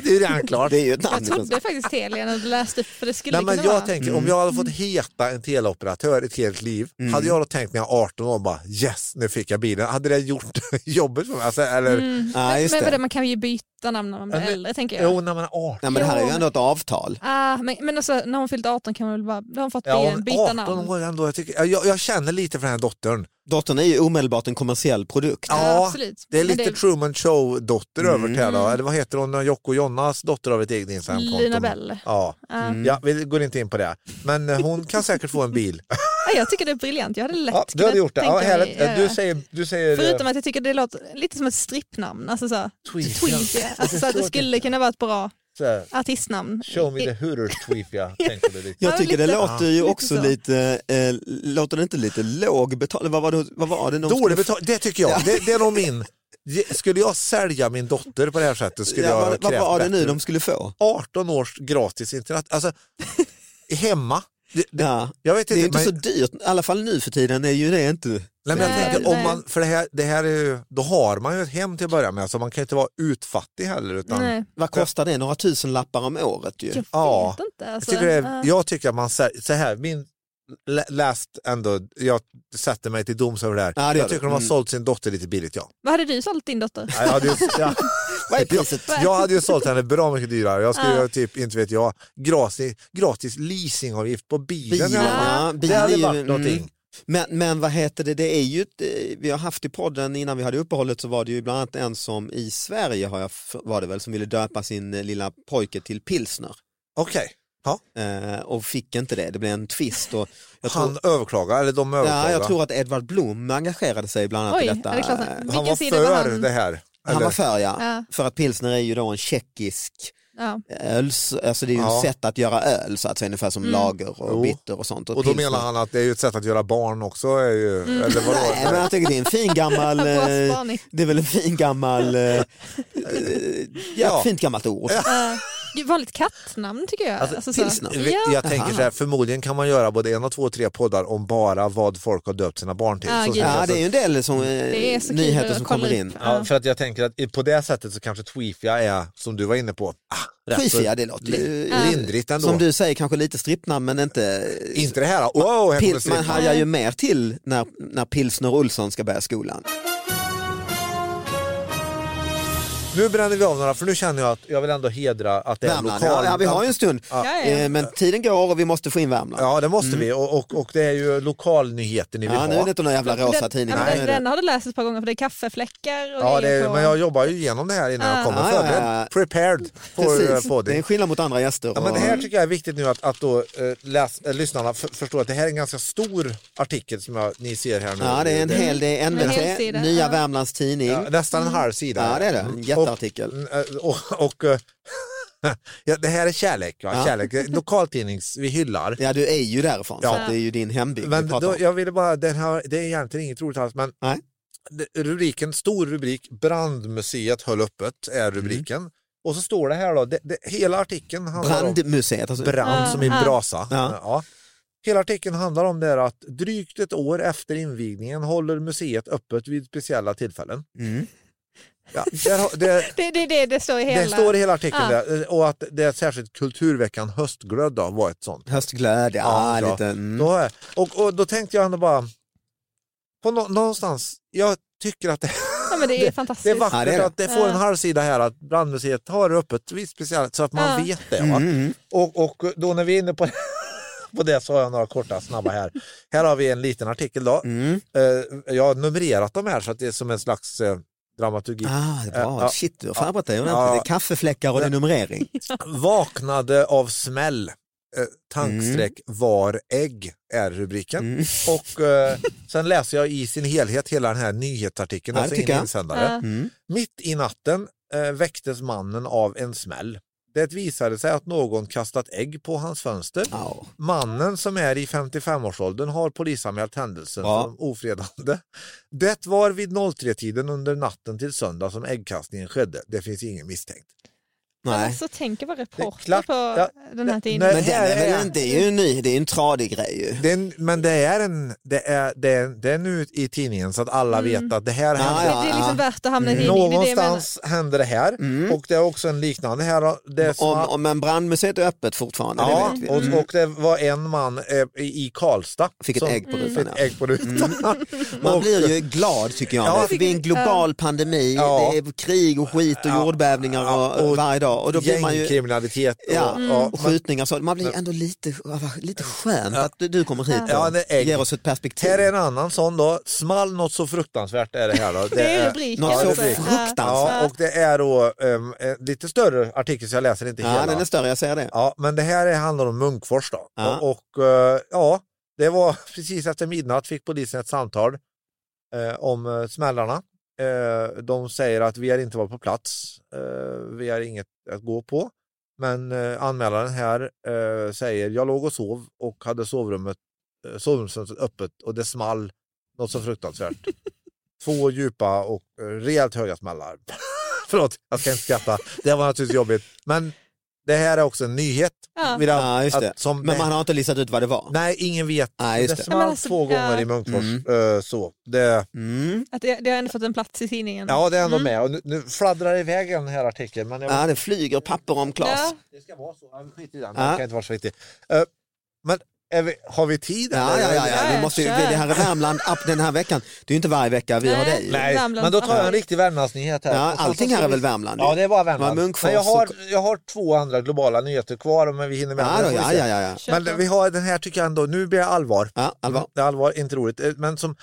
[SPEAKER 4] det är ju redan klart.
[SPEAKER 2] Det är ju ett namn.
[SPEAKER 5] Jag trodde faktiskt Telia när du läste upp, för det skulle
[SPEAKER 4] Nej, men
[SPEAKER 5] kunna
[SPEAKER 4] jag
[SPEAKER 5] vara.
[SPEAKER 4] tänker, om jag hade
[SPEAKER 2] Mm.
[SPEAKER 4] fått heta en teleoperatör ett helt liv, hade jag då tänkt när jag var 18 år bara yes, nu fick jag bilen. Hade det gjort jobbet för mig? Alltså, eller,
[SPEAKER 2] Ja, just
[SPEAKER 5] men
[SPEAKER 2] det.
[SPEAKER 5] vadå, man kan ju byta namn när man blir äldre tänker jag.
[SPEAKER 4] Jo, när man är 18.
[SPEAKER 2] Nej, men det här är ju ändå ett avtal.
[SPEAKER 5] Ah, men, men alltså, när hon fyllt 18 kan man väl bara, då har hon fått
[SPEAKER 4] Ja,
[SPEAKER 5] be-
[SPEAKER 4] hon
[SPEAKER 5] byta
[SPEAKER 4] är
[SPEAKER 5] namn.
[SPEAKER 4] 18 år ändå. Jag, tycker, jag, jag känner lite för den här dottern.
[SPEAKER 2] Dottern är ju omedelbart en kommersiell produkt.
[SPEAKER 5] Ja, absolut.
[SPEAKER 4] det är
[SPEAKER 5] Men
[SPEAKER 4] lite
[SPEAKER 5] det- Mm.
[SPEAKER 4] Truman Show-dotter över till henne. Eller vad heter hon, Jocke och Jonas dotter av ett eget Instagramkonto?
[SPEAKER 5] Lina Bell.
[SPEAKER 4] Ja. Mm. ja, vi går inte in på det. Men eh, hon kan säkert få en bil.
[SPEAKER 5] Ah, jag tycker det är briljant, jag hade lätt
[SPEAKER 4] Ja, du hade gjort det. Ja,
[SPEAKER 5] tänka
[SPEAKER 4] härligt.
[SPEAKER 5] mig, eh,
[SPEAKER 4] Du säger... Du säger
[SPEAKER 5] Förutom att jag tycker det låter lite som ett strippnamn, alltså så, här,
[SPEAKER 4] Tweet.
[SPEAKER 5] Tweefia. Alltså, så att det skulle kunna vara ett bra
[SPEAKER 4] Så här,
[SPEAKER 5] artistnamn.
[SPEAKER 4] Show me the hooters tweefia, tänker du liksom. lite.
[SPEAKER 2] Jag
[SPEAKER 5] Ja,
[SPEAKER 2] tycker det
[SPEAKER 5] lite-
[SPEAKER 2] låter ju
[SPEAKER 5] lite
[SPEAKER 2] också
[SPEAKER 5] så.
[SPEAKER 2] lite, eh, låter det inte lite låg betal... Vad var det, vad var det någon
[SPEAKER 4] Dålig betal, det tycker jag. Det, det är nog min... Skulle jag sälja min dotter på det här sättet skulle
[SPEAKER 2] ja,
[SPEAKER 4] jag
[SPEAKER 2] vad, vad
[SPEAKER 4] krävt
[SPEAKER 2] var det nu
[SPEAKER 4] bättre.
[SPEAKER 2] de skulle få?
[SPEAKER 4] 18 års gratis internet. Alltså, hemma. Det, det,
[SPEAKER 2] Ja.
[SPEAKER 4] jag vet
[SPEAKER 2] Det är ju
[SPEAKER 4] inte,
[SPEAKER 2] inte
[SPEAKER 4] men-
[SPEAKER 2] så dyrt, i alla fall nu för tiden är ju det inte.
[SPEAKER 4] Nej, men jag
[SPEAKER 5] Nej,
[SPEAKER 4] tänker, om
[SPEAKER 5] nej.
[SPEAKER 4] man, för det här, det här är ju, då har man ju ett hem till att börja med, så man kan ju inte vara utfattig heller. Utan,
[SPEAKER 5] Nej,
[SPEAKER 2] Vad kostar det? Några tusen lappar om året ju.
[SPEAKER 5] jag
[SPEAKER 4] Ja.
[SPEAKER 5] vet inte.
[SPEAKER 4] jag,
[SPEAKER 5] Alltså,
[SPEAKER 4] tycker det är,
[SPEAKER 5] ah.
[SPEAKER 4] jag tycker att man, sä- så här, min lä- läst ändå, jag sätter mig till doms över det här.
[SPEAKER 2] Ja, det gör
[SPEAKER 4] jag tycker
[SPEAKER 2] du.
[SPEAKER 4] de har
[SPEAKER 2] Mm.
[SPEAKER 4] sålt sin dotter lite billigt, ja.
[SPEAKER 5] Vad hade du sålt din dotter?
[SPEAKER 4] Jag hade ju, jag,
[SPEAKER 2] Vad är priset?
[SPEAKER 4] jag hade ju sålt henne bra mycket dyrare. Jag skulle
[SPEAKER 5] Ja.
[SPEAKER 4] göra typ, inte vet jag, gratis, gratis leasingavgift på bilen.
[SPEAKER 2] Bilen, ja.
[SPEAKER 4] Det hade
[SPEAKER 2] Bilen är ju-
[SPEAKER 4] varit någonting.
[SPEAKER 2] mm. Men, men vad heter det, det är ju, ett- eh, vi har haft i podden innan vi hade uppehållet så var det ju bland annat en som i Sverige har jag, f- var det väl, som ville döpa sin eh, lilla pojke till pilsner
[SPEAKER 4] Okej, ja.
[SPEAKER 2] eh, och fick inte det, det blev en twist. Och jag,
[SPEAKER 4] han
[SPEAKER 2] tror,
[SPEAKER 4] överklagar, eller de överklagar.
[SPEAKER 2] ja, jag tror att Edvard Blom engagerade sig bland annat
[SPEAKER 5] Oj,
[SPEAKER 2] i
[SPEAKER 5] ja, det
[SPEAKER 2] detta.
[SPEAKER 5] är klart.
[SPEAKER 2] Eh,
[SPEAKER 5] Vilken
[SPEAKER 4] han var
[SPEAKER 5] sida var
[SPEAKER 4] för
[SPEAKER 5] han?
[SPEAKER 4] det här.
[SPEAKER 2] Han
[SPEAKER 4] eller?
[SPEAKER 2] var för ja.
[SPEAKER 5] Ja.
[SPEAKER 2] för att pilsner är ju då en tjeckisk
[SPEAKER 5] Ja.
[SPEAKER 2] Öls, alltså det är ju
[SPEAKER 4] Ja. Mm.
[SPEAKER 2] ett sätt att göra öl så att säga, ungefär som lager och
[SPEAKER 4] Jo.
[SPEAKER 2] bitter och sånt.
[SPEAKER 4] Och då
[SPEAKER 2] pilsner.
[SPEAKER 4] menar han att det är ju ett sätt att göra barn också. Är ju,
[SPEAKER 5] Mm.
[SPEAKER 4] eller vadå?
[SPEAKER 2] Nej, men jag tycker det är en fin gammal, eh,
[SPEAKER 5] Bra spaning.
[SPEAKER 2] det är väl en fin gammal, eh, eh, ja,
[SPEAKER 4] Ja.
[SPEAKER 2] ett fint gammalt ord.
[SPEAKER 5] Eh, Gud, vanligt kattnamn tycker jag.
[SPEAKER 2] Alltså,
[SPEAKER 5] Alltså, så.
[SPEAKER 2] pilsner.
[SPEAKER 4] Vi-
[SPEAKER 5] Ja.
[SPEAKER 4] Jag tänker så här, förmodligen kan man göra både en och två och tre poddar om bara vad folk har döpt sina barn till.
[SPEAKER 5] Ja,
[SPEAKER 4] Så-
[SPEAKER 5] gud.
[SPEAKER 2] Ja, det är ju en del som, eh,
[SPEAKER 5] Det är så kul
[SPEAKER 2] nyheter
[SPEAKER 5] att
[SPEAKER 2] som
[SPEAKER 5] kolla
[SPEAKER 2] kommer
[SPEAKER 5] upp.
[SPEAKER 2] in.
[SPEAKER 4] Ja, för att jag tänker att i- på det sättet så kanske Tweefia är, som du var inne på, ah, rätt så
[SPEAKER 2] Skifiga, det låter ju
[SPEAKER 4] li- lindrigt ändå.
[SPEAKER 2] Som du säger, kanske lite strippnamn men inte...
[SPEAKER 4] Inte det här, wow, här kommer
[SPEAKER 2] Pil, man
[SPEAKER 4] strippnamn.
[SPEAKER 2] hajar ju mer till när, när Pilsner Olsson ska börja skolan.
[SPEAKER 4] Nu bränner vi av några, för nu känner jag att jag vill ändå hedra att det är en
[SPEAKER 2] Värmland,
[SPEAKER 4] lokal.
[SPEAKER 2] ja, ja, vi har ju en stund.
[SPEAKER 5] Ja, ja.
[SPEAKER 2] Eh, Men tiden går och vi måste få in Värmland.
[SPEAKER 4] Ja, det måste vi och, och, och det är ju lokalnyheter ni vill
[SPEAKER 2] Ja,
[SPEAKER 4] ha.
[SPEAKER 2] nu är det inte någon jävla rosa
[SPEAKER 5] Den-
[SPEAKER 2] tidning.
[SPEAKER 5] ja, men
[SPEAKER 2] Nej,
[SPEAKER 5] den,
[SPEAKER 2] det-
[SPEAKER 5] den har du läst ett par gånger för det är kaffefläckar och
[SPEAKER 4] Ja, det
[SPEAKER 5] grejer
[SPEAKER 4] är,
[SPEAKER 5] på.
[SPEAKER 4] men jag jobbar ju igenom det här innan jag kommer
[SPEAKER 2] Ja, ja,
[SPEAKER 4] förberedd.
[SPEAKER 2] ja.
[SPEAKER 4] Prepared for
[SPEAKER 2] Precis.
[SPEAKER 4] eh,
[SPEAKER 2] Det är en
[SPEAKER 4] podding.
[SPEAKER 2] skillnad mot andra gäster.
[SPEAKER 4] Ja, men det
[SPEAKER 2] och-
[SPEAKER 4] här tycker jag är viktigt nu att, att då, eh, läs, eh, lyssnarna f- förstår att det här är en ganska stor artikel som jag, ni ser här nu.
[SPEAKER 2] Ja, det är en hel, det är
[SPEAKER 5] En
[SPEAKER 2] NVT,
[SPEAKER 5] hel sida,
[SPEAKER 2] Nya
[SPEAKER 5] ja.
[SPEAKER 2] Värmlands Tidning.
[SPEAKER 4] Ja, nästan en halv sida. Mm.
[SPEAKER 2] Ja, det är det. En jätteartikel.
[SPEAKER 4] Och, eh, och, och, eh, ja, det här är kärlek. Ja,
[SPEAKER 2] Ja.
[SPEAKER 4] kärlek. Det är Lokaltidnings, vi hyllar.
[SPEAKER 2] Ja, du är ju därifrån,
[SPEAKER 4] Ja.
[SPEAKER 2] så att det är ju din hembygd
[SPEAKER 4] Men
[SPEAKER 2] vi pratar
[SPEAKER 4] då,
[SPEAKER 2] om.
[SPEAKER 4] jag ville bara, den här, det är egentligen inget roligt alls, men
[SPEAKER 2] Nej.
[SPEAKER 4] det- rubriken, stor rubrik, Brandmuseet höll öppet är
[SPEAKER 2] Mm.
[SPEAKER 4] rubriken. Och så står det här då, det, det, hela artikeln handlar om
[SPEAKER 2] Brandmuseet. Alltså.
[SPEAKER 4] brand som i
[SPEAKER 5] Ja.
[SPEAKER 4] brasa.
[SPEAKER 2] Ja.
[SPEAKER 4] Hela artikeln handlar om det här att drygt ett år efter invigningen håller museet öppet vid speciella tillfällen.
[SPEAKER 2] Mm.
[SPEAKER 4] Ja, där, har- det,
[SPEAKER 5] Det, det, det, det står i hela.
[SPEAKER 4] det står i hela artikeln
[SPEAKER 5] Ja.
[SPEAKER 4] där, och att det är särskilt Kulturveckan Höstglöd då, var ett sånt.
[SPEAKER 2] Höstglöd, ja.
[SPEAKER 4] Ja, bra.
[SPEAKER 2] lite, mm.
[SPEAKER 4] Då har jag, och, och då tänkte jag ändå bara, på nå, någonstans, jag tycker att det,
[SPEAKER 5] Ja, men det är
[SPEAKER 4] det är
[SPEAKER 5] fantastiskt.
[SPEAKER 4] vackert
[SPEAKER 2] Ja, det är det.
[SPEAKER 4] att det får en halvsida här att brandmuseet har det öppet vid speciellt så att man
[SPEAKER 5] Ja.
[SPEAKER 4] vet det. Va?
[SPEAKER 2] Mm.
[SPEAKER 4] Och, och då när vi är inne på, på det så har jag några korta snabba här. Här har vi en liten artikel då.
[SPEAKER 2] Mm.
[SPEAKER 4] Eh, Jag har numrerat dem här så att det är som en slags eh, dramaturgi.
[SPEAKER 2] Ah, det är bra.
[SPEAKER 4] Eh, ja.
[SPEAKER 2] Shit, du har förberett dig ordentligt.
[SPEAKER 4] Ja.
[SPEAKER 2] Det är kaffefläckar och det är numrering.
[SPEAKER 4] Vaknade av smäll. Eh, Tankstreck
[SPEAKER 2] Mm.
[SPEAKER 4] var ägg är rubriken. Och eh, sen läser jag i sin helhet hela den här nyhetsartikeln,
[SPEAKER 2] Ja, det
[SPEAKER 4] alltså
[SPEAKER 2] tycker
[SPEAKER 4] ingen
[SPEAKER 2] jag.
[SPEAKER 4] insändare.
[SPEAKER 5] Ja.
[SPEAKER 4] Mitt i natten eh, väcktes mannen av en smäll. Det visade sig att någon kastat ägg på hans fönster.
[SPEAKER 2] Ja.
[SPEAKER 4] Mannen som är i 55-årsåldern har polisanmält händelsen
[SPEAKER 2] Ja.
[SPEAKER 4] som ofredande. Det var vid 03-tiden under natten till söndag som äggkastningen skedde. Det finns ingen misstänkt.
[SPEAKER 5] Nej.
[SPEAKER 2] Nej.
[SPEAKER 5] Alltså, tänk att vara
[SPEAKER 4] Det är
[SPEAKER 5] reporter
[SPEAKER 4] klart.
[SPEAKER 5] på
[SPEAKER 4] Ja.
[SPEAKER 5] den här
[SPEAKER 4] Det-
[SPEAKER 5] tidningen.
[SPEAKER 2] Men
[SPEAKER 4] det
[SPEAKER 2] den
[SPEAKER 4] här
[SPEAKER 2] är väl
[SPEAKER 4] är-
[SPEAKER 2] en, det är ju en ny, det är en tradig grej ju.
[SPEAKER 4] Det är, en- men det är, en, det, är, det, är, det är nu i tidningen så att alla vet att det här
[SPEAKER 2] Ja,
[SPEAKER 4] händer.
[SPEAKER 5] det, det är liksom värt att hamna i tidningen. Det är det jag menar.
[SPEAKER 4] Mm. Någonstans händer det här och det är också en liknande här. Det är som
[SPEAKER 2] Om,
[SPEAKER 4] att-
[SPEAKER 2] om, men brandmuseet är öppet fortfarande, det
[SPEAKER 4] Ja,
[SPEAKER 2] vet vi. Mm.
[SPEAKER 4] och, och det var en man eh, i i Karlstad
[SPEAKER 2] Fick ett
[SPEAKER 4] som
[SPEAKER 2] ägg på rutan,
[SPEAKER 4] fick
[SPEAKER 2] ja.
[SPEAKER 4] ett ägg på rutan.
[SPEAKER 2] Man
[SPEAKER 4] Och-
[SPEAKER 2] blir ju glad tycker jag.
[SPEAKER 4] Ja.
[SPEAKER 2] För det är en global pandemi,
[SPEAKER 4] Ja.
[SPEAKER 2] det är krig och skit och jordbävningar och,
[SPEAKER 4] och
[SPEAKER 2] varje dag. Och då blir man ju
[SPEAKER 4] Gängkriminalitet och, Mm.
[SPEAKER 2] Ja,
[SPEAKER 4] ja,
[SPEAKER 2] och
[SPEAKER 4] men-
[SPEAKER 2] skjutningar och så. Man blir ändå lite, lite skönt att du- du kommer hit och
[SPEAKER 4] Ja, det är-
[SPEAKER 2] ger oss ett perspektiv.
[SPEAKER 4] Här är en annan sån då, small något så fruktansvärt är det här då.
[SPEAKER 5] Det är rubriken.
[SPEAKER 2] Något
[SPEAKER 4] Ja,
[SPEAKER 2] så
[SPEAKER 4] det blir-
[SPEAKER 2] fruktansvärt.
[SPEAKER 4] Ja, och det är då um, lite större artikel så jag läser inte
[SPEAKER 2] Ja,
[SPEAKER 4] hela.
[SPEAKER 2] den är större, jag säger det.
[SPEAKER 4] Ja, men det här är- handlar om Munkfors då.
[SPEAKER 2] Ja.
[SPEAKER 4] Och, och, eh, ja, det var precis efter midnatt fick polisen ett samtal eh, om eh, smällarna. Eh, de säger att vi har inte varit på plats. Eh, vi har inget att gå på. Men eh, anmälaren här eh, säger jag låg och sov och hade sovrummet, eh, sovrumsfönstret öppet och det small något så fruktansvärt. Två djupa och eh, rejält höga smällar. Förlåt, jag ska inte skratta. Det var naturligtvis jobbigt. Men det här är också en nyhet.
[SPEAKER 5] Ja.
[SPEAKER 4] Vill jag-
[SPEAKER 2] Ja, just
[SPEAKER 4] att-
[SPEAKER 2] det.
[SPEAKER 4] som
[SPEAKER 2] Men
[SPEAKER 4] det-
[SPEAKER 2] man har inte listat ut vad det var.
[SPEAKER 4] Nej, ingen vet.
[SPEAKER 2] Nej, just
[SPEAKER 4] det
[SPEAKER 2] det.
[SPEAKER 4] small
[SPEAKER 5] Men alltså,
[SPEAKER 4] två
[SPEAKER 5] ja.
[SPEAKER 4] gånger i Munkfors.
[SPEAKER 2] Mm.
[SPEAKER 4] eh, så. Det,
[SPEAKER 2] Mm.
[SPEAKER 5] Att det, det har ändå fått en plats i tidningen.
[SPEAKER 4] ja, det är ändå
[SPEAKER 5] Mm.
[SPEAKER 4] med. Och nu, nu fladdrar iväg den här artikeln. Men jag,
[SPEAKER 2] Ja, det flyger papper om Klas.
[SPEAKER 5] Ja.
[SPEAKER 4] Det ska vara så. Ja, Skit i den.
[SPEAKER 2] Ja.
[SPEAKER 4] Den kan inte vara så viktig. Eh, men är vi, har vi tid?
[SPEAKER 2] Ja, ja,
[SPEAKER 4] eller?
[SPEAKER 2] ja, ja. Vi
[SPEAKER 5] Ja,
[SPEAKER 2] måste ju,
[SPEAKER 5] kör.
[SPEAKER 2] det här är Värmland app den här veckan. Det är ju inte varje vecka vi har
[SPEAKER 5] Nej.
[SPEAKER 2] dig.
[SPEAKER 4] Nej,
[SPEAKER 5] Värmland.
[SPEAKER 4] men då tar jag
[SPEAKER 5] Ja.
[SPEAKER 4] en riktig Värmlandsnyhet här.
[SPEAKER 2] Ja,
[SPEAKER 4] Och så-
[SPEAKER 2] allting
[SPEAKER 4] så-
[SPEAKER 2] här är väl Värmland?
[SPEAKER 4] Ja, det är bara Värmland.
[SPEAKER 2] Var Munkfors
[SPEAKER 4] men jag, har,
[SPEAKER 2] och-
[SPEAKER 4] jag har två andra globala nyheter kvar, men vi hinner med.
[SPEAKER 2] Ja,
[SPEAKER 4] det
[SPEAKER 2] då,
[SPEAKER 4] får vi
[SPEAKER 2] ja,
[SPEAKER 4] se.
[SPEAKER 2] ja, ja, ja.
[SPEAKER 5] Kör
[SPEAKER 4] Men
[SPEAKER 5] på.
[SPEAKER 4] vi har den här tycker jag ändå, nu blir jag allvar.
[SPEAKER 2] Ja, allvar.
[SPEAKER 4] Det är allvar, inte roligt. Eh, Men som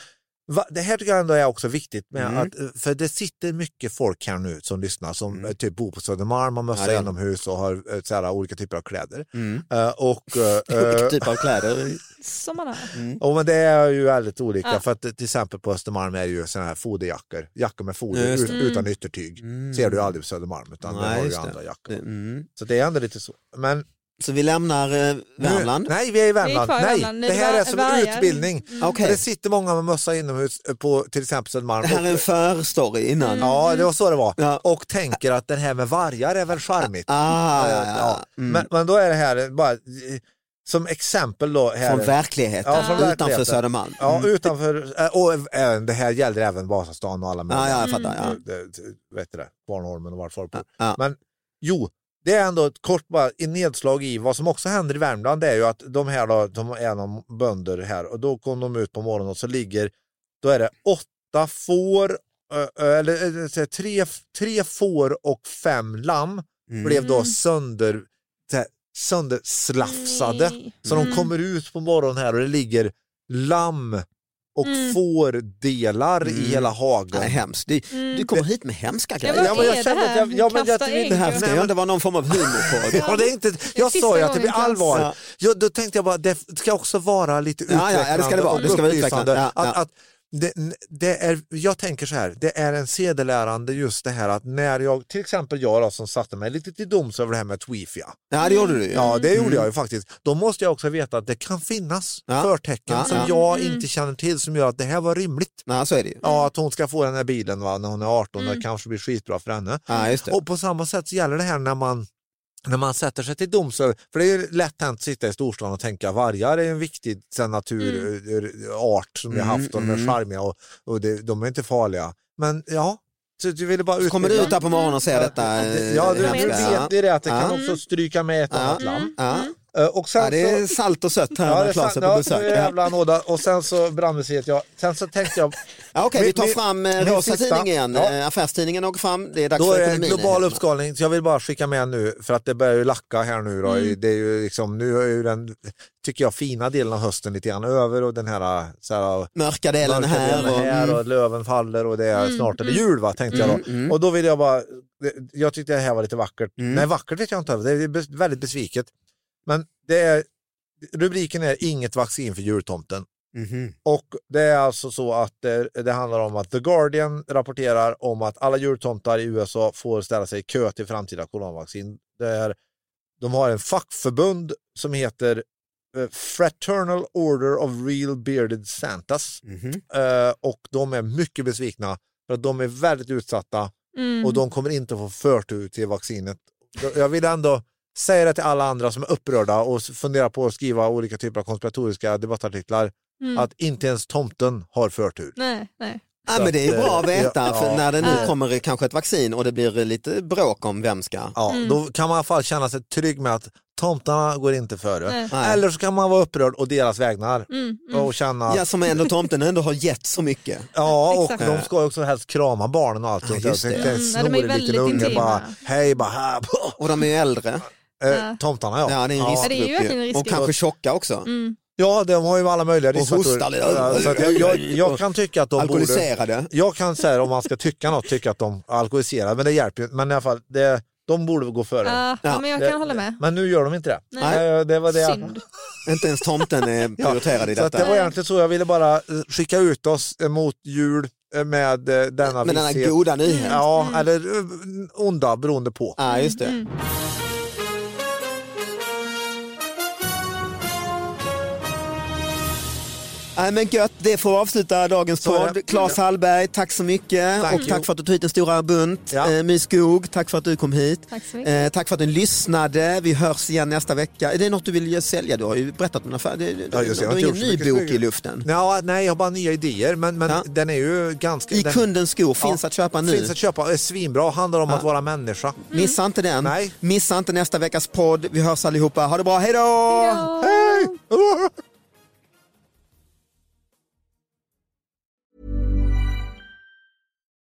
[SPEAKER 4] Va, det här tycker jag ändå är också viktigt, med
[SPEAKER 2] Mm.
[SPEAKER 4] att, eh, för det sitter mycket folk här nu som lyssnar som eh, typ bor på Södermalm, har
[SPEAKER 2] Ja,
[SPEAKER 4] mössa
[SPEAKER 2] det är-
[SPEAKER 4] inomhus och har eh, så här, olika typer av kläder.
[SPEAKER 2] Mm. Typ
[SPEAKER 4] Eh, och, eh,
[SPEAKER 2] Olika
[SPEAKER 4] eh,
[SPEAKER 2] typer av kläder.
[SPEAKER 5] Som man har.
[SPEAKER 4] Ja, men det är ju väldigt olika.
[SPEAKER 5] Ja.
[SPEAKER 4] För att till exempel på Östermalm är det ju sådana här foderjackor. Jackor med foder
[SPEAKER 2] Ja, just
[SPEAKER 4] ut,
[SPEAKER 2] det. Mm.
[SPEAKER 4] utan yttertyg. Ser du ju aldrig på Södermalm utan där
[SPEAKER 2] Nej,
[SPEAKER 4] har du ju
[SPEAKER 2] just det.
[SPEAKER 4] andra jackor.
[SPEAKER 2] Det- Mm.
[SPEAKER 4] Så det är ändå lite så. Men
[SPEAKER 2] Så vi lämnar eh, Värmland.
[SPEAKER 4] Nu, nej, vi är i
[SPEAKER 5] Vi är
[SPEAKER 4] Värmland.
[SPEAKER 5] kvar i
[SPEAKER 4] nej,
[SPEAKER 5] Värmland. Ni
[SPEAKER 4] det här
[SPEAKER 5] var- Mm.
[SPEAKER 4] är som
[SPEAKER 5] vargar.
[SPEAKER 4] utbildning.
[SPEAKER 2] Okej.
[SPEAKER 4] Det sitter många med mössa inomhus eh, på till exempel Södermalm.
[SPEAKER 2] Det här är en
[SPEAKER 4] Och-
[SPEAKER 2] förstory innan.
[SPEAKER 4] Ja, det var så det var.
[SPEAKER 2] Ja.
[SPEAKER 4] Och tänker att det här med vargar är väl charmigt.
[SPEAKER 2] Ah, ja, ja,
[SPEAKER 4] Ja.
[SPEAKER 2] ja. Mm.
[SPEAKER 4] Men, men då är det här bara eh, som exempel då. Här
[SPEAKER 2] Från verkligheten,
[SPEAKER 4] Ja, från verkligheten.
[SPEAKER 2] utanför Södermalm. Mm.
[SPEAKER 4] Ja, utanför, eh, och även- det här gällde även Vasastan och alla
[SPEAKER 2] Ja, ja, jag
[SPEAKER 4] möjliga-
[SPEAKER 2] fattar, ja.
[SPEAKER 4] det- det- Vet du det, Kvarnholmen och vart folk bor.
[SPEAKER 2] Ja.
[SPEAKER 4] Men jo, det är ändå ett kort bara, ett nedslag i vad som också händer i Värmland. Det är ju att de här då, de är någon bönder här och då kom de ut på morgonen och så ligger, då är det åtta får, eh, eh, eller eh, så här, tre, tre får och fem lamm
[SPEAKER 2] Mm.
[SPEAKER 4] blev då sönder, så här, sönderslafsade.
[SPEAKER 5] Nej.
[SPEAKER 4] Så de
[SPEAKER 5] Mm.
[SPEAKER 4] kommer ut på morgonen här och det ligger lamm och
[SPEAKER 5] Mm.
[SPEAKER 4] fårdelar i
[SPEAKER 2] Mm.
[SPEAKER 4] hela hagen.
[SPEAKER 2] Nej, hemskt. Du,
[SPEAKER 5] Mm.
[SPEAKER 2] du kommer hit med hemska
[SPEAKER 5] Ja,
[SPEAKER 2] grejer.
[SPEAKER 5] vad
[SPEAKER 4] Ja, men jag
[SPEAKER 5] är det
[SPEAKER 4] känner att
[SPEAKER 5] här?
[SPEAKER 4] jag- ja, men jag-
[SPEAKER 5] Kasta
[SPEAKER 4] det
[SPEAKER 5] ägg
[SPEAKER 2] Det här
[SPEAKER 5] och-
[SPEAKER 2] ska ju inte vara någon form av humor på.
[SPEAKER 4] Ja, det är inte, jag
[SPEAKER 5] sista
[SPEAKER 4] sa ju att
[SPEAKER 5] gången
[SPEAKER 4] det blir allvar.
[SPEAKER 2] Ja.
[SPEAKER 4] Ja, då tänkte jag bara det ska också vara lite
[SPEAKER 2] Ja, ja,
[SPEAKER 4] utvecklande
[SPEAKER 2] ja, det ska det vara.
[SPEAKER 4] och
[SPEAKER 2] Det ska vara
[SPEAKER 4] upplysande.
[SPEAKER 2] utvecklande. Ja,
[SPEAKER 4] Att,
[SPEAKER 2] ja.
[SPEAKER 4] att det, det är, jag tänker så här, det är en sedelärande just det här att när jag, till exempel jag då, som satte mig lite till doms över det här med Twifia.
[SPEAKER 2] Ja, det gjorde du.
[SPEAKER 4] Ja, det gjorde
[SPEAKER 2] Mm.
[SPEAKER 4] jag ju faktiskt. Då måste jag också veta att det kan finnas
[SPEAKER 2] Ja.
[SPEAKER 4] förtecken
[SPEAKER 2] Ja,
[SPEAKER 4] som
[SPEAKER 2] ja.
[SPEAKER 4] jag inte känner till som gör att det här var rimligt.
[SPEAKER 2] Mm. Ja, så är det ju.
[SPEAKER 4] Ja, att hon ska få den här bilen va, när hon är 18. Det kanske blir skitbra för henne.
[SPEAKER 2] Ja, just det.
[SPEAKER 4] Och på samma sätt så gäller det här när man när man sätter sig till doms över, för det är ju lätt hänt att sitta i storstan och tänka vargar är en viktig så här, naturart eh, som vi har haft och de är
[SPEAKER 2] Mm,
[SPEAKER 4] charmiga och, och det, de är inte farliga. Men ja, så du ville bara
[SPEAKER 2] Så kommer du ut
[SPEAKER 4] utbilda-
[SPEAKER 2] här på morgonen och säger detta. eh,
[SPEAKER 4] Ja, du, du
[SPEAKER 2] hemska.
[SPEAKER 4] vet det är det att det
[SPEAKER 2] Ja.
[SPEAKER 4] kan också stryka med ett
[SPEAKER 2] Ja.
[SPEAKER 4] annat lamm.
[SPEAKER 2] Ja.
[SPEAKER 5] Mm.
[SPEAKER 4] Eh, Och sen
[SPEAKER 2] Ja, det
[SPEAKER 4] så-
[SPEAKER 2] är salt och sött här
[SPEAKER 4] Ja, det
[SPEAKER 2] när
[SPEAKER 4] är sant.
[SPEAKER 2] Claes är på
[SPEAKER 4] Ja, det var
[SPEAKER 2] besök. Ja.
[SPEAKER 4] jävla anåda. Och sen så brandmuseet, ja. Sen så tänkte jag...
[SPEAKER 2] Ja, Okej, vi tar
[SPEAKER 4] Min-
[SPEAKER 2] fram eh,
[SPEAKER 4] min
[SPEAKER 2] Rosa
[SPEAKER 4] sista-
[SPEAKER 2] Tidning igen.
[SPEAKER 4] Ja.
[SPEAKER 2] Eh, Affärstidningen åker fram. Det är dags
[SPEAKER 4] Då
[SPEAKER 2] för
[SPEAKER 4] är det en
[SPEAKER 2] ekonomin.
[SPEAKER 4] global uppskalning, så jag vill bara skicka med nu, för att det börjar ju lacka här nu. Då.
[SPEAKER 2] Mm.
[SPEAKER 4] Det är ju liksom, nu är ju den, tycker jag, fina delen av hösten lite grann över och den här, så här
[SPEAKER 2] Mörka delen
[SPEAKER 4] mörka
[SPEAKER 2] här.
[SPEAKER 4] delen
[SPEAKER 2] och, Mm.
[SPEAKER 4] här och löven faller och det är snart är det jul va, tänkte jag då. Och då ville jag bara, det- jag tyckte det här var lite vackert.
[SPEAKER 2] Mm.
[SPEAKER 4] Nej, vackert vet jag inte, det är bes- väldigt besviket. Men det är, rubriken är Inget vaccin för jultomten.
[SPEAKER 2] Mhm.
[SPEAKER 4] Och det är alltså så att det, det handlar om att The Guardian rapporterar om att alla jultomtar i USA får ställa sig i kö till framtida coronavaccin. Det är, de har en fackförbund som heter eh, Fraternal Order of Real Bearded Santas
[SPEAKER 2] Mhm.
[SPEAKER 4] Eh, och de är mycket besvikna för att de är väldigt utsatta
[SPEAKER 5] Mm.
[SPEAKER 4] och de kommer inte få förtur till vaccinet. Jag vill ändå säga det till alla andra som är upprörda och funderar på att skriva olika typer av konspiratoriska debattartiklar
[SPEAKER 5] Mm.
[SPEAKER 4] att inte ens tomten har förtur.
[SPEAKER 5] Nej, nej.
[SPEAKER 2] Ja, men det är
[SPEAKER 4] Så
[SPEAKER 2] bra
[SPEAKER 4] att,
[SPEAKER 2] att
[SPEAKER 4] eh,
[SPEAKER 2] veta
[SPEAKER 4] ja,
[SPEAKER 2] för när det nu
[SPEAKER 4] ja.
[SPEAKER 2] kommer kanske ett vaccin och det blir lite bråk om vem ska.
[SPEAKER 4] Ja,
[SPEAKER 5] Mm.
[SPEAKER 4] Då kan man i alla fall känna sig trygg med att tomtarna går inte före.
[SPEAKER 2] Nej.
[SPEAKER 4] Eller så kan man vara upprörd och deras vägnar
[SPEAKER 5] Mm,
[SPEAKER 4] och känna att
[SPEAKER 2] Ja, som ändå tomten ändå har gett så mycket.
[SPEAKER 4] Ja, och
[SPEAKER 5] Exakt.
[SPEAKER 4] de ska ju också helst krama barnen och allt sånt där.
[SPEAKER 2] just
[SPEAKER 4] Så
[SPEAKER 2] det.
[SPEAKER 4] det är en
[SPEAKER 5] Mm, nej, de är
[SPEAKER 4] snorig liten
[SPEAKER 5] väldigt
[SPEAKER 4] unge
[SPEAKER 5] intima.
[SPEAKER 4] bara, hej bara här.
[SPEAKER 2] Och de är ju äldre.
[SPEAKER 4] Eh, tomtarna ja.
[SPEAKER 2] Ja, det är en
[SPEAKER 5] Ja, det är ju
[SPEAKER 2] riskgrupp
[SPEAKER 5] verkligen en
[SPEAKER 2] ju. Och
[SPEAKER 5] riskgrupp. Mm.
[SPEAKER 2] kanske tjocka också.
[SPEAKER 4] Ja, de har ju alla möjliga
[SPEAKER 2] hostar lite.
[SPEAKER 4] Ja, så att jag, jag, jag kan tycka att de borde...
[SPEAKER 2] Alkoholiserade.
[SPEAKER 4] Jag kan säga om man ska tycka något, tycka att de är alkoholiserade, men det hjälper ju inte. Men i alla fall, det, de borde väl gå före.
[SPEAKER 5] Ja,
[SPEAKER 2] Ja,
[SPEAKER 5] men jag
[SPEAKER 4] Det-
[SPEAKER 5] kan hålla med.
[SPEAKER 4] Men nu gör de inte det.
[SPEAKER 2] Nej.
[SPEAKER 4] Eh, Det var det. jag-
[SPEAKER 5] Synd.
[SPEAKER 2] Inte ens tomten är prioriterad i
[SPEAKER 4] Så att
[SPEAKER 2] detta.
[SPEAKER 4] det var egentligen så jag ville bara eh, skicka ut oss eh, mot jul eh, med eh, denna
[SPEAKER 2] Men den här
[SPEAKER 4] visshet.
[SPEAKER 2] goda nyheten.
[SPEAKER 4] Ja, eller eh, onda beroende på.
[SPEAKER 2] Ja,
[SPEAKER 5] Mm,
[SPEAKER 2] just det. Nej men gött, det får avsluta dagens
[SPEAKER 4] Så är
[SPEAKER 2] podd.
[SPEAKER 4] det.
[SPEAKER 2] Claes Hallberg, tack så mycket.
[SPEAKER 4] Tack.
[SPEAKER 2] och tack för att du tog hit en stora bunt.
[SPEAKER 4] Ja.
[SPEAKER 2] Eh, My Skog, tack för att du kom hit.
[SPEAKER 5] Tack så mycket.
[SPEAKER 2] Eh, tack för att du lyssnade. Vi hörs igen nästa vecka. Är det något du vill ju sälja? Du har ju berättat om en affär. Det, det,
[SPEAKER 4] Ja, just det.
[SPEAKER 2] du
[SPEAKER 4] Jag har
[SPEAKER 2] har
[SPEAKER 4] inte
[SPEAKER 2] ingen
[SPEAKER 4] gjort så
[SPEAKER 2] ny
[SPEAKER 4] mycket
[SPEAKER 2] bok
[SPEAKER 4] smyg.
[SPEAKER 2] i luften.
[SPEAKER 4] Ja, nej, jag har bara nya idéer, men, men
[SPEAKER 2] Ja.
[SPEAKER 4] den är ju ganska...
[SPEAKER 2] I
[SPEAKER 4] den
[SPEAKER 2] kundens skor finns att köpa nu.
[SPEAKER 4] Finns att köpa, är svinbra, handlar om att vara människa.
[SPEAKER 2] Missa inte den.
[SPEAKER 4] Nej.
[SPEAKER 2] Missa inte nästa veckas podd. Vi hörs allihopa. Ha det bra. Hej då!